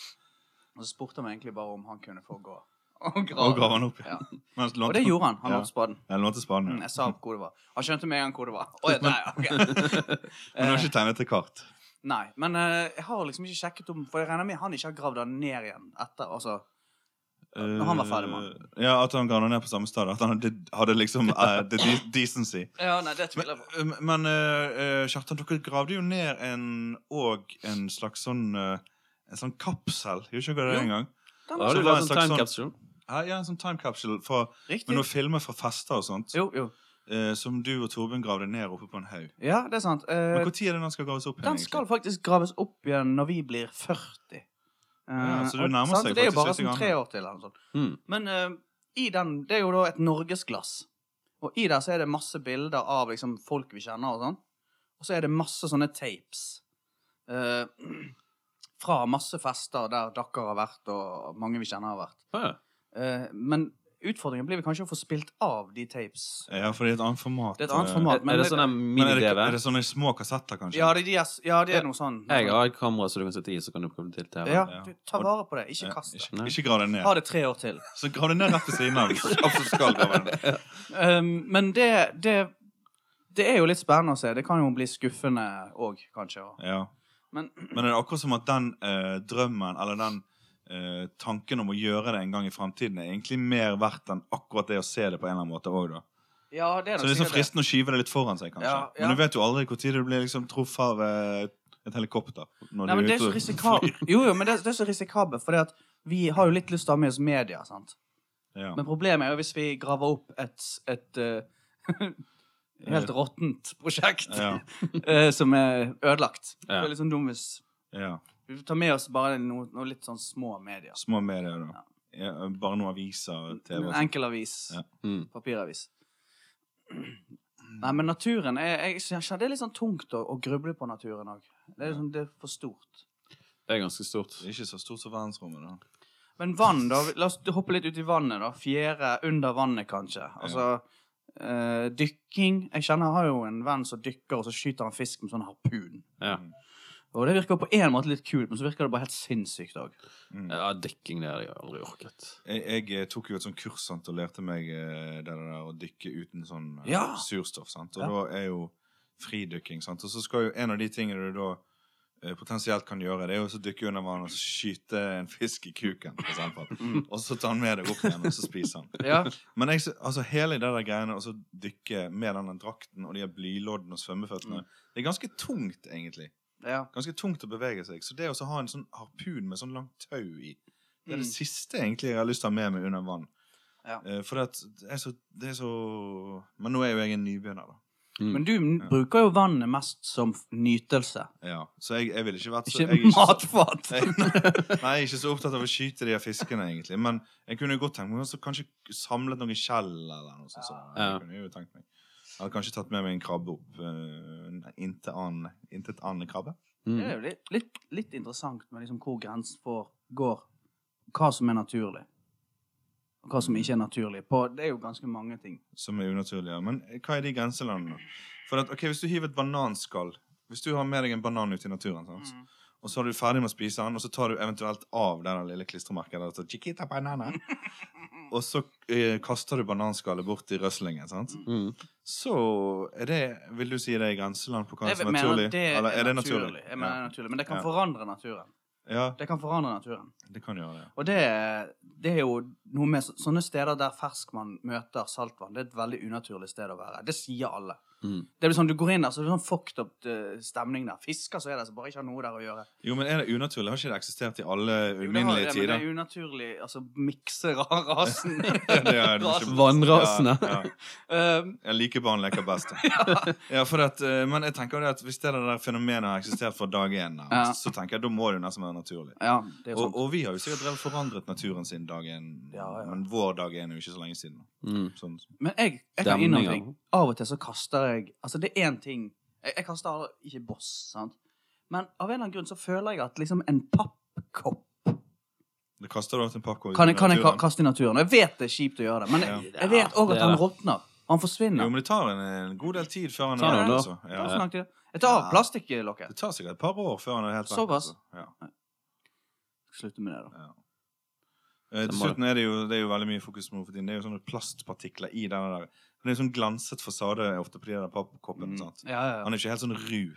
Og så spurte han egentlig bare om han kunne få gå. Og grave. Og grav den opp Ja. igjen. Men Og det gjorde han. Han Ja. lånte spaden. Jeg lånte spaden. Mm, ja. Jeg sa hvor det var. Han skjønte med en gang hvor det var. Å, ja, der, ja, ok. Men du eh. har ikke tegnet til kart. Nei, men eh, jeg har liksom ikke sjekket om For jeg regner med han ikke har gravd den ned igjen etter. Altså, Når han var ferdig med den. Eh, Ja, at han gravde ned på samme sted. At han hadde, hadde liksom eh, the de- decency. ja, nei, det Men, tviler jeg på. eh, men eh, eh, Kjartan, dere gravde jo ned en og en slags sånn eh, En sånn kapsel. Gjorde ikke dere det Jo. en gang? Den Da har var du sånn. var en lagd en slags time sånn- capsule. Ja, ja, en sånn time capsule fra, med Riktig. noen filmer fra fester og sånt. Jo, jo. eh, som du og Torbjørn gravde ned oppe på en haug. Ja, det er sant. Eh, Men Når er det den skal graves opp igjen? den skal faktisk graves opp igjen når vi blir 40. Eh, Ja, så det og- nærmer sant? seg Det er jo faktisk bare litt i gang. sånn tre år til. Eller noe sånt. Hmm. Men eh, i den Det er jo da et norgesglass. Og i der så er det masse bilder av liksom folk vi kjenner og sånn. Og så er det masse sånne tapes. eh, fra masse fester der dere har vært, og mange vi kjenner har vært. Ah, ja. Eh, men utfordringen blir vel kanskje å få spilt av de tapes. egentlig? Ja, for det er et annet format. Det er et annet eh, format. Er, er det sånn en Men er det, mini-DV? er det sånne små kassetter, kanskje? Ja, det, de er, s- ja, det er noe sånn. Jeg har et kamera som du kan sitte i, så kan du komme til TV. Ja, Ja. du, ta vare på det. Ikke Ja, kast det. Eh, Ikke grav det ned. Ha det tre år til. Så grav det ned rett ved siden av. hvis du absolutt skal grave det ned. Um, men det, det Det er jo litt spennende å se. Det kan jo bli skuffende òg, kanskje. og- Ja. Men Men er det akkurat som at den eh, drømmen, eller den eh, tanken om å gjøre det en gang i fremtiden, er egentlig mer verdt enn akkurat det å se det på en eller annen måte også, da. ja, det er Så nok det er liksom sikkert det. fristende å skyve det litt foran seg, kanskje. Ja, ja. Men du vet jo aldri når du blir liksom truffet av eh, et helikopter. Når Nei, du men det er ute så og risikabelt. Jo, jo, men det, er- det er så risikabelt, for at vi har jo litt lyst til å ha med oss media. sant? Ja. Men problemet er jo hvis vi graver opp et, et eh, helt råttent prosjekt Ja. eh, som er ødelagt. Ja. Det er litt sånn dum hvis ja. Vi tar med oss bare noe, noe litt sånn små medier. Små medier, da. Ja, bare noen aviser, TV En og sånt. enkel avis. Ja. Mm. Papiravis. Nei, men naturen er, Jeg kjenner det er litt sånn tungt å, å gruble på naturen òg. Det, er liksom, det er for stort. Det er ganske stort. Det er ikke så stort som verdensrommet, da. Men vann, da. La oss hoppe litt ut i vannet, da. Fjære under vannet, kanskje. Altså eh, dykking Jeg kjenner jeg har jo en venn som dykker, og så skyter han fisk med sånn harpun. Ja. Og det virker på en måte litt kult, men så virker det bare helt sinnssykt òg. Mm. ja, Dekking det hadde jeg aldri orket. Jeg, jeg eh, tok jo et sånt kurs sant, og lærte meg eh, det der å dykke uten sånn eh, Ja. surstoff. Sant? Og Ja. da er jo fridykking. Sant? Og så skal jo en av de tingene du da eh, potensielt kan gjøre, det er jo å dykke under vann og så skyte en fisk i kuken, for eksempel. og så tar han med deg opp igjen, og så spiser han. Ja. Men jeg, sy- altså, hele det der greiene, og så dykke med den drakten og de her blyloddene og svømmeføttene, Mm. det er ganske tungt, egentlig. ja. Ganske tungt å bevege seg. Så det å så ha en sånn harpun med sånn langt tau i, det er Mm. det siste egentlig jeg har lyst til å ha med meg under vann. Ja. Eh, for det, at det, er så, det er så Men nå er jo jeg en nybegynner, da. Men du bruker jo vannet mest som f- nytelse, Ja. Så jeg, jeg ville ikke vært så ikke Altså, jeg er ikke så- matfat. Nei, nei, jeg er ikke så opptatt av å skyte de her fiskene, egentlig. Men jeg kunne jo godt tenkt meg å kanskje samlet noen skjell eller noe sånt. sånt. Ja. Jeg kunne jo tenkt meg. Jeg hadde kanskje tatt med meg en krabbe opp. Uh, Intet annen krabbe. Mm. Det er jo litt, litt, litt interessant med liksom hvor grensen for går. Hva som er naturlig, og hva som ikke er naturlig. På, det er jo ganske mange ting. som er unaturlig. Ja. Men hva er de grenselandene? For at, ok, Hvis du hiver et bananskall Hvis du har med deg en banan ut i naturen, sant? Mm. og så er du ferdig med å spise den, og så tar du eventuelt av det der lille klistremerket der det står «Chiquita banana», og så eh, kaster du bananskallet bort i røslingen, sant? Mm. så er det Vil du si det er grenseland på hva Jeg som er mener naturlig? det er, Eller er det naturlig. naturlig? Jeg mener det er naturlig. Men det kan Ja. forandre naturen. Ja, Det kan forandre naturen. det kan gjøre det. Og det, det er jo noe med så- sånne steder der ferskvann møter saltvann. Det er et veldig unaturlig sted å være. Det sier alle. Mm. Det blir sånn, Du går inn der, så er det sånn fucked up eh, stemning der. Fisker som er der, som bare ikke har noe der å gjøre. Jo, men er det unaturlig? Har ikke det eksistert i Jo, alle det har- uminnelige ja, men tider? Det er unaturlig. Altså, mikse ra- rasen. Ja, det er- det er ikke- Vannrasene. Ja, ja. Um, Ja, likebarn leker best. ja, for at, eh, men jeg tenker det at hvis det der fenomenet har eksistert fra dag én, nærmest, Ja. så tenker jeg da må det jo nesten være naturlig. ja, det er sånn. jo Og, sant. og vi har jo sikkert drevet forandret naturen siden dag én, Ja, ja. men vår dag én er jo ikke så lenge siden. Mm. Sånn, Men jeg, jeg kan innrømme Demninger. ting. Av og til så kaster jeg Altså, det er én ting Jeg, jeg kaster aldri- ikke boss, sant. Men av en eller annen grunn så føler jeg at liksom en pappkopp det kaster du av til en pappkorg kan jeg, i kan jeg ka- naturen. kaste i naturen. Og jeg vet det er kjipt å gjøre det, men jeg, Ja. jeg vet òg Det at er han det. råtner. Han Jo, forsvinner. men det tar en, en god del tid før han Tar er han vekk, da? altså. Det er Ja. så lang tid. Jeg tar av Ja. plastikklokket. Det tar sikkert et par år før han er helt vekk. Såpass. altså. Ja. Slutte med det, da. Eh, Det må Dessuten er det, jo, det er jo veldig mye fokus på for tiden. Det er jo sånne plastpartikler i den der Det er jo sånn glanset fasade ofte på de der pappkoppene. sant? Mm. Ja, ja, ja. Han er ikke helt sånn ru.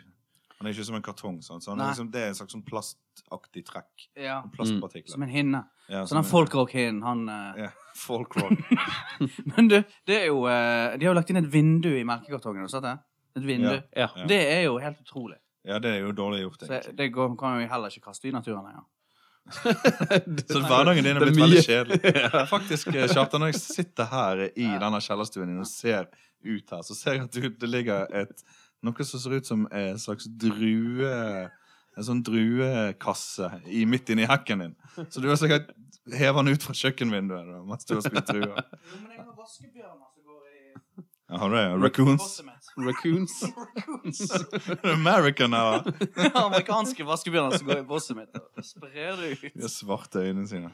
Han er ikke som en kartong. Sant? Så han Nei. er liksom, det er en slags sånn plastaktig trekk. ja. Plastpartikler. Som en hinne. Sånn Ja, Så den folkrock-hinnen, han eh, ja, Folkrock. Men du, det er jo eh, De har jo lagt inn et vindu i melkekartongen. har du sett det? Et vindu. Ja. Ja. Ja. Det er jo helt utrolig. Ja, det er jo dårlig gjort, Så egentlig. det går, kan jo heller ikke kaste i naturen lenger. Så hverdagen din er Det er blitt mye. veldig kjedelig. Faktisk, eh, Kjartan, når jeg sitter her i denne kjellerstuen din og ser ut her, så ser jeg at du- det ligger et noe som ser ut som en slags drue En sånn druekasse i, midt inni hekken din. Så du har sikkert hevet den ut fra kjøkkenvinduet da, mens du har spist druer. Jo, men jeg har vaskebjørner som går i Ja, har du det? Raccoons? mitt. Raccoons. American hour. Amerikanske vaskebjørner som går i bosset mitt. og Sprer det De har ut. svarte øynene sine.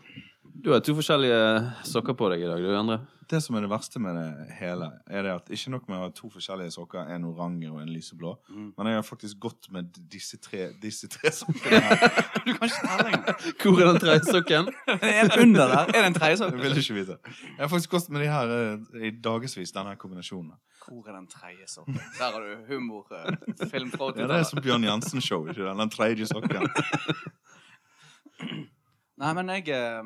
Du har to forskjellige sokker på deg i dag, du, Endre. Det som er det verste med det hele, er det at ikke nok med å ha to forskjellige sokker, en oransje og en lyseblå, Mm. men jeg har faktisk gått med disse tre, disse tre sokkene her. Du kan ikke telle engang. Hvor er den tredje sokken? Det er en under der. Er det en tredje Jeg sånn? vil ikke vite. Jeg har faktisk gått med de her eh, i dagevis, denne her kombinasjonen. Hvor er den tredje sokken? Der har du humor. eh, Film fra Ja, det er 80-tallet. som Bjørn Jansen-show, ikke det? Den tredje sokken. Nei, men jeg eh,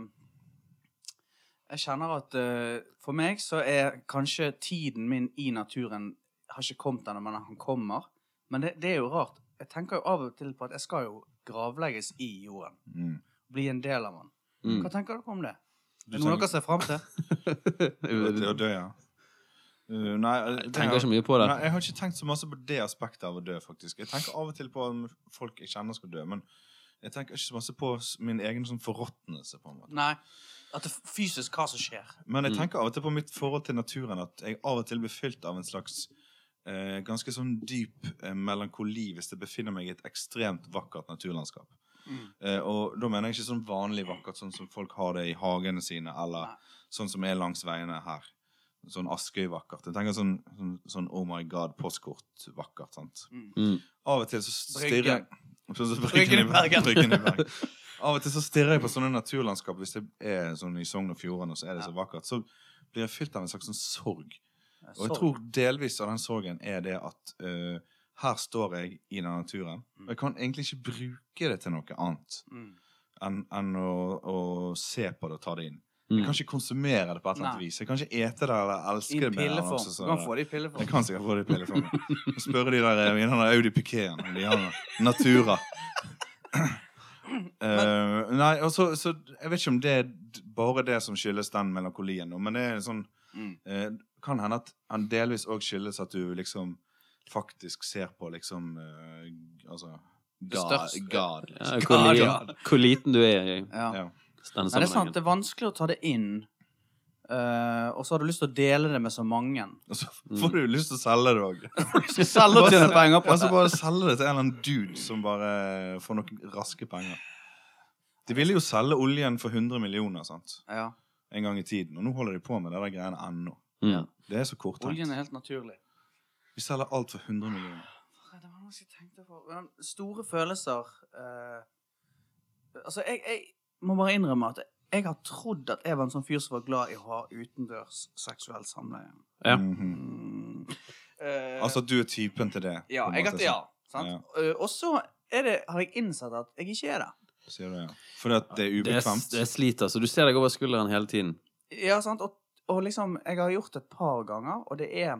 Jeg kjenner at eh, for meg så er kanskje tiden min i naturen Har ikke kommet ennå, men han kommer. Men det, det er jo rart. Jeg tenker jo av og til på at jeg skal jo gravlegges i jorden. Mm. Bli en del av den. Mm. Hva tenker dere om det? Du Er det noe tenker- dere ser fram til? Det å dø, ja. Uh, nei, Jeg jeg tenker tenker, ikke mye på det. nei, jeg har ikke tenkt så masse på det aspektet av å dø, faktisk. Jeg tenker av og til på om folk jeg kjenner skal dø, men jeg tenker ikke så masse på s- min egen sånn forråtnelse, på en måte. Nei. At det f- fysisk hva som skjer. Men jeg Mm. tenker av og til på mitt forhold til naturen, at jeg av og til blir fylt av en slags eh, ganske sånn dyp eh, melankoli hvis jeg befinner meg i et ekstremt vakkert naturlandskap. Mm, Eh, og da mener jeg ikke sånn vanlig vakkert, sånn som folk har det i hagene sine, eller Nei. sånn som er langs veiene her. Sånn Askøy-vakkert. Jeg tenker sånn, sånn, sånn Oh my God, postkort-vakkert. sant? Mm. Av og til så stirrer jeg Bryggen. Sånn som Bryggen i Bergen. Bryggen i Bergen. Av og til så stirrer jeg på sånne naturlandskap. Hvis det er sånn i Sogn og Fjordane, og så er det så vakkert, så blir jeg fylt av en slags sånn sorg. Og jeg tror delvis av den sorgen er det at eh, her står jeg i den naturen. Og jeg kan egentlig ikke bruke det til noe annet Mm. enn enn å, å se på det og ta det inn. Mm. Jeg kan ikke konsumere det på et eller annet Nei. vis. Jeg kan ikke ete det eller I elske det. en mer enn pilleform. også, så- Du kan få det i pilleform. Jeg kan sikkert få det i pilleform. Og Spørre de der eh, i den der Audi Piqueten om de har noe. Natura. Eh, nei, og så, så Jeg vet ikke om det er d- bare det som skyldes den melankolien, nå, men det er sånn Mm. Eh, kan hende at han delvis òg skyldes at du liksom faktisk ser på liksom eh, Altså God, største. God Ja, liksom. hvor, li, Ja. hvor liten du er i Ja. Ja. Nei, denne det er sant. sammenhengen. Det er vanskelig å ta det inn. Eh, og så har du lyst til å dele det med så mange. Og så får du jo lyst til å selge det òg. Du skal selge og tjene penger på Altså, Og så det. bare selge det til en eller annen dude som bare får noen raske penger. De ville jo selge oljen for 100 millioner sant? Ja. en gang i tiden, og nå holder de på med det der greiene ennå. Mm. Det er så Oljen korttenkt. er helt naturlig. Vi selger alt for 100 millioner. Nei, Det var noe jeg tenkte på. Men store følelser eh, Altså, jeg, jeg må bare innrømme at jeg har trodd at jeg var en sånn fyr som var glad i å ha utendørs seksuelt samleie. Ja. Mhm. Mm. Eh, Altså at du er typen til det? ja, på en jeg har, måte, ja, sant? Eh, og så er det, har jeg innsett at jeg ikke er det. så Sier du, ja. Fordi at det er Det, er, ubekvemt? det sliter, så du ser deg over skulderen hele tiden. Ja, sant? Og, og liksom, jeg har gjort det et par ganger, og det er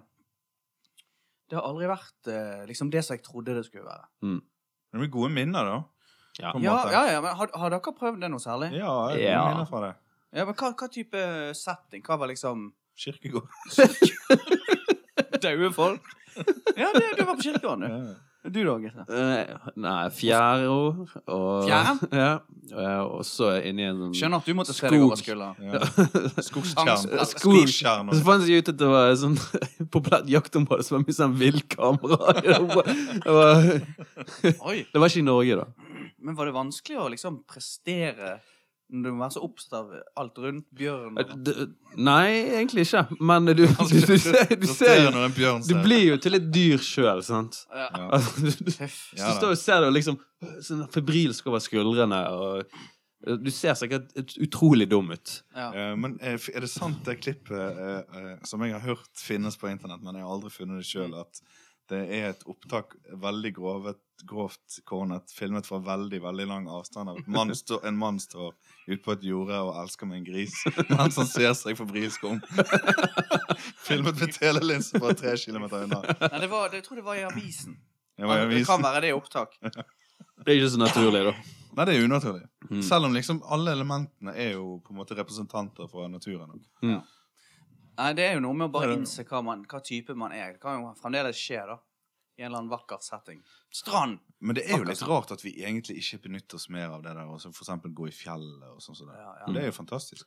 Det har aldri vært eh, liksom det som jeg trodde det skulle være. Men Det blir gode minner, da. Ja. På en Ja, måte. ja, ja, men har, har dere prøvd det noe særlig? Ja, gode Ja. minner fra det. Ja, men hva, hva type setting? Hva var liksom Kirkegård. Daue folk? ja, det, det var på kirkegården, du. Ja. Du da, Gisle? Eh, Nei, fjæro og Fjæren? Ja. eh, Og så inni en sånn Skjønner at du måtte se Skog. deg over skulderen. Ja. Angst- Skogstjern. Skog. Skogstjern. Så fant jeg ut at det var et sånn populært jaktområde som var mye sånn villkamera. Det var- det var- Oi. det var ikke i Norge, da. Men var det vanskelig å liksom prestere når du må være så opptatt av alt rundt bjørn? og- D- Nei, egentlig ikke. Men du, du, du, ser- du ser jo når en bjørn Du ser. blir jo til et dyr sjøl, sant? Ja. Ja. Altså, du, du, Tøff. Ja, så da. står du og ser det og liksom sånn febrilsk over skuldrene, og og du ser sikkert ut- utrolig dum ut. Ja. Eh, Men eh, f- er det sant det klippet eh, eh, som jeg har hørt finnes på internett, men jeg har aldri funnet det Mm. sjøl, at det er et opptak veldig grovet, grovt kornet, filmet fra veldig veldig lang avstand. Av et mann stå, en mann står ute på et jorde og elsker med en gris mens han ser seg febrilsk om. filmet med telelinse bare tre kilometer unna. Nei, det var, det, jeg tror det var i avisen. Det var i Det kan avisen. være det i opptak. Det er ikke så naturlig, da. Nei, det er unaturlig. Mm. Selv om liksom alle elementene er jo på en måte representanter fra naturen. Nei, det er jo noe med å Ja, bare det er- innse hva, man, hva type man er. Det kan jo fremdeles skje, da. I en eller annen vakker setting. Strand! Men det er jo litt rart at vi egentlig ikke benytter oss mer av det der, og så for eksempel gå i fjellet og sånn som det. Ja, ja. Det er jo fantastisk.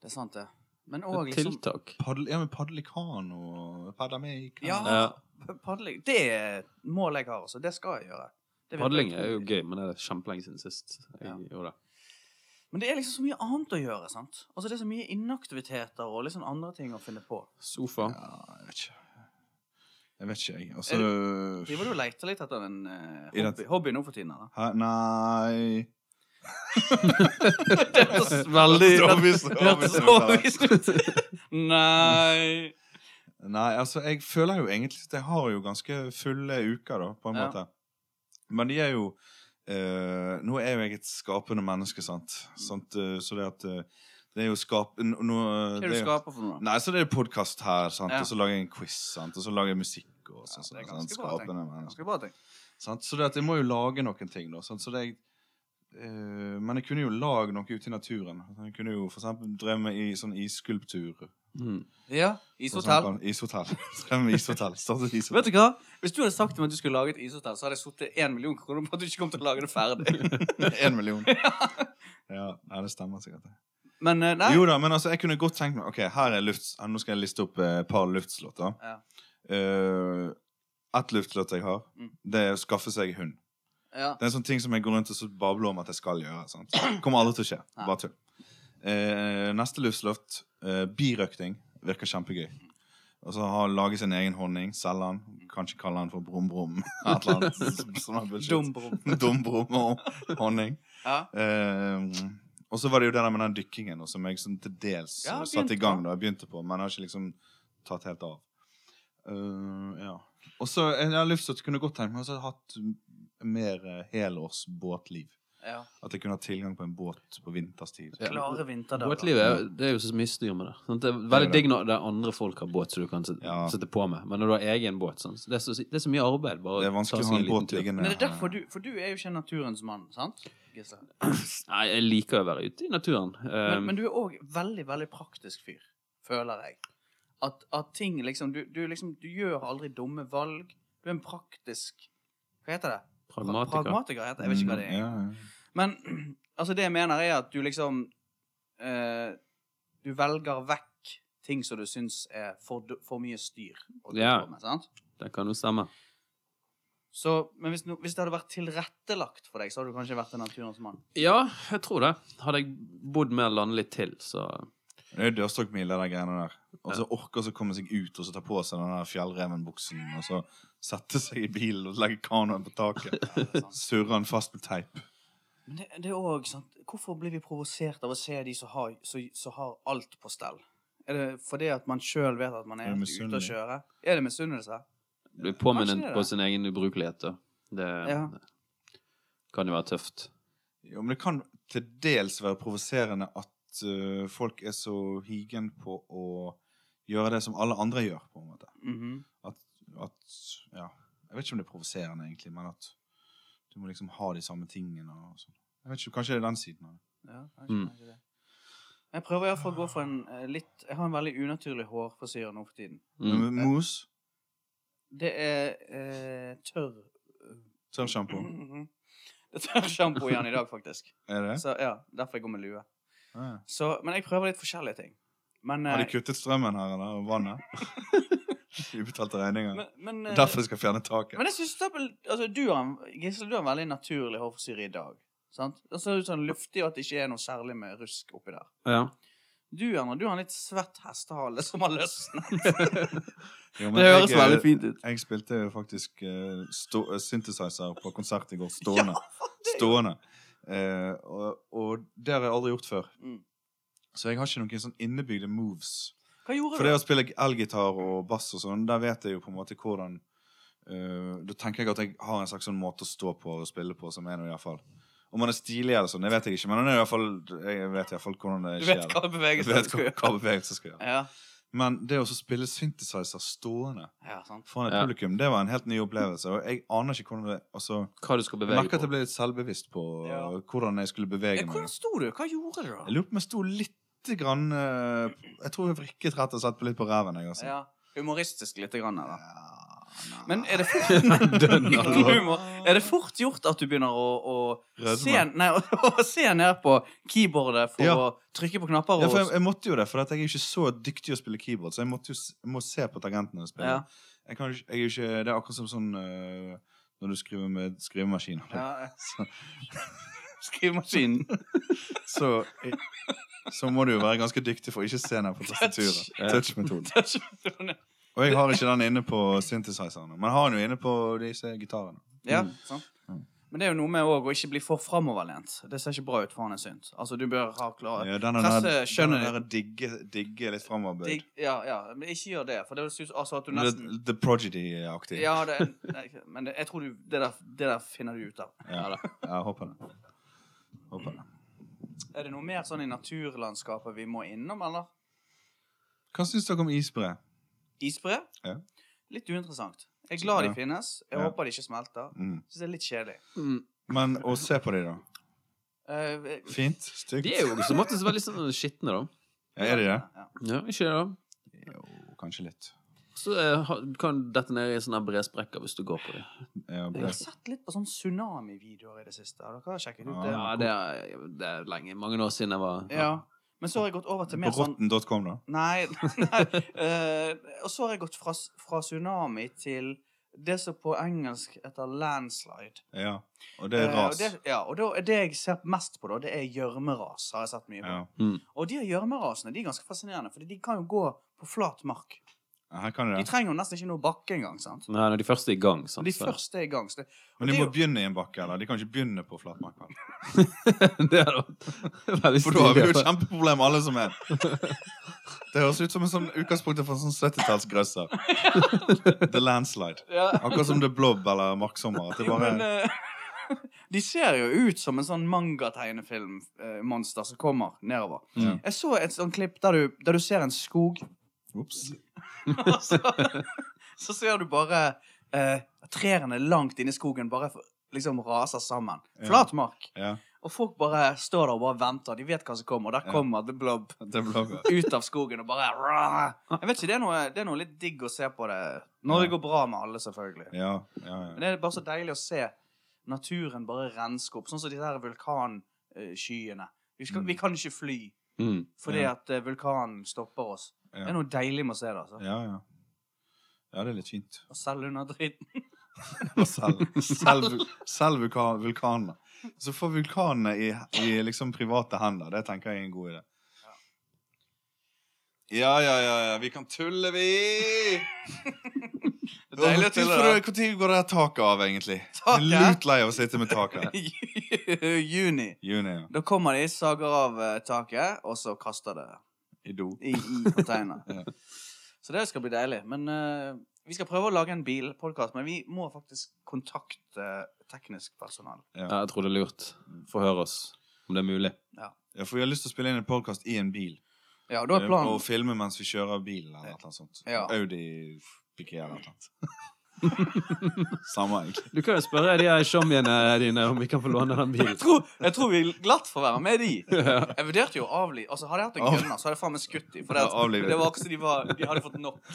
Det er sant, det. Men òg liksom Tiltak. Paddel, ja, men paddel i kano og padle med i kano. Ja, padling. Det er et mål jeg har, altså. Det skal jeg gjøre. Det vil jeg Padling tro. er jo gøy, men det er kjempelenge siden sist. Jeg Ja. gjorde det. Men det er liksom så mye annet å gjøre, sant? Altså, det er så mye inaktiviteter og liksom andre ting å finne på. Sofa. Ja, jeg vet ikke. Jeg vet ikke, jeg. Altså, Er Og så Driver du og leter litt etter en eh, I hobby, det- hobby nå for tiden, da? Hæ? Nei Veldig Så overbevist- overbevist om det. Nei Nei, altså, jeg føler jo egentlig at jeg har jo ganske fulle uker, da, på en Ja. måte. Men de er jo eh, Nå er jo jeg et skapende menneske, sant? Mm. sant? eh, så det at eh, Det er jo skap... Nå, nå- eh, Hva er det det er du jo- skaper for noe? da? Nei, så det er podkast her, sant? Ja. og så lager jeg en quiz, sant? og så lager jeg musikk og sånn. Ja, sånn, det er sant? ganske bra, tenker Skapende, men- Ganske bra ting. sant? Så det at jeg må jo lage noen ting, da. Sant? Så det jeg eh, men jeg kunne jo lage noe ute i naturen. Jeg kunne jo for eksempel drømme i sånn isskulptur. Mm. Ja, For ishotell. eksempel Ishotell. Drømme ishotell. Starte ishotell. Vet du hva? Hvis du hadde sagt til meg at du skulle lage et ishotell, så hadde jeg sittet én million kroner på at du ikke kom til å lage det ferdig. Én million. Ja, nei, det stemmer sikkert. det. Men eh, nei. Jo da, men altså, jeg kunne godt tenkt meg Ok, her er lufts... ja, Nå skal jeg liste opp eh, et par luftslott. da. Ja. Eh, et luftslott jeg har, Mm. det er å skaffe seg hund. Ja. Det er en sånn ting som jeg går rundt og så babler om at jeg skal gjøre. Sant? Kommer aldri til å skje. Nei. Bare tull. Eh, neste luftslott, eh, birøkting, virker kjempegøy. Og så ha lage sin egen honning, selge den, kanskje kalle den for brum-brum. Et eller annet. Sånn her bullshit. Dumbrom. Dum-brum og honning. Ja. Eh, og så var det jo det der med den dykkingen og som jeg sånn til dels Ja, satte i begynte gang på. da jeg begynte på, men har ikke liksom tatt helt av. Eh, ja. Og så eh, jeg har lyst til at jeg kunne godt tenkt meg å ha hatt mer eh, helårs båtliv. ja. At jeg kunne ha tilgang på en båt på vinterstid. Ja. Klare vinterdager. Båtlivet er- det er jo så mye styr med det. Sant? Det er Det er veldig det. digg når det er andre folk har båt som du kan sitte, Ja. sitte på med. Men når du har egen båt sånn, så det, er så, det er så mye arbeid. Bare Det er ta vanskelig å seg ha en liten båt tur. liggende. Men det er derfor du For du er jo ikke naturens mann, sant? Gisle? Nei, jeg liker å være ute i naturen. Men, Um, men du er òg veldig, veldig praktisk fyr, føler jeg. At, at ting liksom du, du liksom du gjør aldri dumme valg. Du er en praktisk Hva heter det? Pra- pragmatiker. Pragmatiker heter det. Jeg vet ikke hva det er. Ja, Mm, ja. Men altså, det jeg mener, er at du liksom eh, Du velger vekk ting som du syns er for, du- for mye styr. å drive Ja. på med, sant? Det kan jo stemme. Så, men hvis, no, hvis det hadde vært tilrettelagt for deg, så hadde du kanskje vært en naturens mann. Ja, jeg tror det. Hadde jeg bodd mer landlig til, så Det er jo dørstokkmil, det der greiene der. Og så orker så komme seg ut og så ta på seg den der fjellrevenbuksen. Og så sette seg i bilen og legge kanoen på taket. Ja, det er sant. Surre den fast med teip. Men det, det er òg sant Hvorfor blir vi provosert av å se de som har, som, som har alt på stell? Er det fordi at man sjøl vet at man Er er ute det å misunnelig? kjøre? Er det misunnelse? blir påminnet Kanskje det er på det. sin egen ubrukelighet. Da. Det Ja. kan jo være tøft. Jo, men det kan til dels være provoserende at øh, folk er så higen på å gjøre det som alle andre gjør, på en måte. Mhm. At, at Ja. Jeg vet ikke om det er provoserende, egentlig, men at du må liksom ha de samme tingene og sånn. Jeg vet ikke, Kanskje det er den siden av det. Ja, kanskje, Mm. kanskje det. Jeg prøver i hvert fall å gå for en eh, litt Jeg har en veldig unaturlig hårforsyre nå for tiden. Mm. Men Mos, Det er eh, tørr tørrsjampo, Mhm. Det er tørr sjampo igjen i dag, faktisk. er det? Så ja, Derfor jeg går med lue. Mm. Ja. Så, men jeg prøver litt forskjellige ting. Men, Har de eh, kuttet strømmen her, eller? Og vannet? Ubetalte regninger. men, men, eh, Derfor de skal fjerne taket. Men jeg synes da, altså, du har en, Gisle, du har en veldig naturlig hårforsyre i dag. Sant? Det ser ut sånn luftig og at det ikke er noe særlig med rusk oppi der. Ja. Du Erna, du har en litt svett hestehale som har løsnet. Jo, men Det høres jeg, eh, veldig fint ut. Jeg spilte jo faktisk eh, stå, eh, synthesizer på konsert i går, stående. stående. Eh, og, og det har jeg aldri gjort før. Mm. Så jeg har ikke noen sånn innebygde moves. Hva gjorde For det du? å spille elgitar og bass og sånn, der vet jeg jo på en måte hvordan eh, Da tenker jeg at jeg har en slags sånn måte å stå på og spille på som er noe, iallfall. Om man er stilig eller sånn, det vet jeg ikke, men han er i hvert fall, jeg vet iallfall hvordan det Du skjer. vet hva Jeg bevegelsen vet du skal hva, gjøre. hva bevegelser skal gjøre. Ja, Men det å så spille synthesizer stående ja, sant. foran et Ja. publikum, det var en helt ny opplevelse. Og jeg aner ikke hvordan det altså, Hva du skal Jeg bevege merker at jeg på. ble litt selvbevisst på Ja. uh, hvordan jeg skulle Ja, bevege meg. hvordan sto du? Hva gjorde du, Jeg da? lurer på om jeg sto litt grann, uh, Jeg tror jeg vrikket rett og slett på litt på ræven. Jeg, altså. Ja, humoristisk lite grann, eller? Ja, Men nei. er det Dønn, altså. fort, Humor. er det fort gjort at du begynner å, å, Rødme. se, nei, å, å se ned på keyboardet for Ja. å trykke på knapper? ja, Og, for jeg, jeg måtte jo det, for at jeg er jo ikke så dyktig å spille keyboard. Så jeg, måtte jo, s- jeg må se på targentene og spille. Ja. Jeg kan, jo ikke- jeg er jo ikke, det er akkurat som sånn uh, når du skriver med skrivemaskin. Ja, Skrivemaskinen. Så, jeg, så må du jo være ganske dyktig for å ikke se ned på tastaturet. Ja. Touch-metoden. Det er ikke sånn, Og jeg har ikke den inne på synthesizerne. Men jeg har den jo inne på disse gitarene. Ja, Mm. sant. Mm. Men det er jo noe med også å ikke bli for framoverlent. Det ser ikke bra ut, faen er synd. Altså, du bør ha klare Ja, den Presse der- skjønner den der digge, digge litt Digg- framoverbøyd. Ja, ja, men ikke gjør det, for det synes altså at du nesten The, the Prodigy-aktig. Ja, det nei, Men det, jeg tror du det der, det der finner du ut av. Ja, jeg håper det. Håper det. Er det noe mer sånn i naturlandskapet vi må innom, eller? Hva syns dere om isbre? Isbre? Ja. Litt uinteressant. Jeg er glad de Ja. finnes. Jeg Ja. håper de ikke smelter. Mm. Syns det er litt kjedelig. Mm. Men å se på de da. Eh, Fint. Stygt. De er jo så måtte veldig sånn skitne, da. Ja, er de det? ja. Ja, ikke det, da? Jo, kanskje litt. Så eh, ha- du kan du dette ned i sånne her bresprekker hvis du går på dem. Ja, Jeg bra. har sett litt på sånn tsunami-videoer i det siste. Har dere sjekket ut det? Ja, det er, det er lenge. Mange år siden jeg var Ja. Men så har jeg gått over til På mer sånn rotten.com, da? Nei. nei eh, og så har jeg gått fra, s- fra tsunami til det som på engelsk heter landslide. Ja. Og det er Eh, og ras. det- ja, og da, det jeg ser mest på, da, det er gjørmeras. har jeg sett mye på. Ja. Og de gjørmerasene de er ganske fascinerende, for de kan jo gå på flat mark. Ja, Her kan du De det. trenger jo nesten ikke noe bakke engang. sant? Nei, Sånn når de første er i gang. Når Sant? de så- først er i gang. Så det, Men de det er må jo- begynne i en bakke, eller? De kan ikke begynne på flatmark. vel? det hadde vært veldig For da har vi jo stilig. et kjempeproblem, alle som er. Det høres ut som en sånn utgangspunkt for en sånn 70-tallsgrøsser. The landslide. ja. Akkurat som The Blob eller Marksommer. At det bare Men eh, de ser jo ut som en sånn mangategnefilmmonster som kommer nedover. Mm. Jeg så et sånt klipp der du, der du ser en skog, Ops. og så, så ser du bare eh, trærne langt inne i skogen bare for- liksom raser sammen. Ja. Flat mark. Ja. Og folk bare står der og bare venter. De vet hva som kommer, og der Ja. kommer The Blob The Blob. ja. ut av skogen og bare rah. Jeg vet ikke, det er, noe, det er noe litt digg å se på det. Når det går bra med alle, selvfølgelig. Ja, ja, ja. Men det er bare så deilig å se naturen bare renske opp. Sånn som de der vulkanskyene. Vi, skal, vi kan ikke fly Mm. fordi Ja. at eh, vulkanen stopper oss. Ja. Det er noe deilig med å se det. altså. Ja, ja. Ja, det er litt fint. Og selv under dritten. Selv, selv, selv vulkan, vulkanene. Så få vulkanene i, i liksom private hender. Det tenker jeg er en god idé. Ja, ja, ja, ja. Vi kan tulle, vi! Det er deilig å tulle, da. Når går det her taket av, egentlig? Jeg er Taket? lut lei av å sitte med taket. I Juni. Juni, ja. Da kommer de, sager av eh, taket, og så kaster det I do. i, i container. Ja. Så det skal bli deilig. Men eh, vi skal prøve å lage en bilpodkast, men vi må faktisk kontakte teknisk personal. Ja, jeg tror det er lurt. Få høre oss, om det er mulig. Ja, for vi har lyst til å spille inn en podkast i en bil. Eh, Ja, og da er planen Og filme mens vi kjører bilen eller noe sånt. Ja. Audi Piquet eller noe. Samme, egentlig. Du kan jo spørre de her sjommiene dine om vi kan få låne den bilen. Jeg tror, jeg tror vi glatt får være med de. Jeg vurderte jo å avlive altså, Hadde jeg hatt en Av- gunner, så hadde jeg faen meg skutt de. For det, Ja, at, avlivet. det var ikke så de var De hadde fått nok.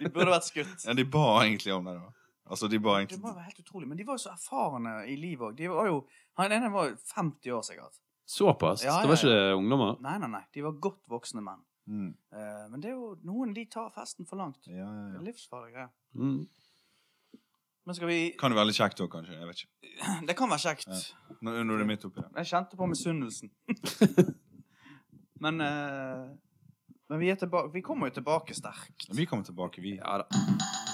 De burde vært skutt. Ja, de ba egentlig om det, da. Altså, de ba Det egentlig må jo være helt utrolig. Men de var jo så erfarne i livet òg. De var jo Han ene var jo 50 år sikkert. Såpass? Ja, ja, Det var ja. ikke ungdommer? Nei, nei, nei. De var godt voksne menn. mm. Eh, men det er jo noen de tar festen for langt. Det ja, ja, er ja. livsfarlig greie. Mm. Men skal vi Kan jo være litt kjekt òg, kanskje. Jeg vet ikke. Det kan være kjekt. Nå, nå er det midt oppi det. Jeg kjente på misunnelsen. men eh, Men vi er tilbake Vi kommer jo tilbake sterkt. Vi kommer tilbake, vi. Ja da.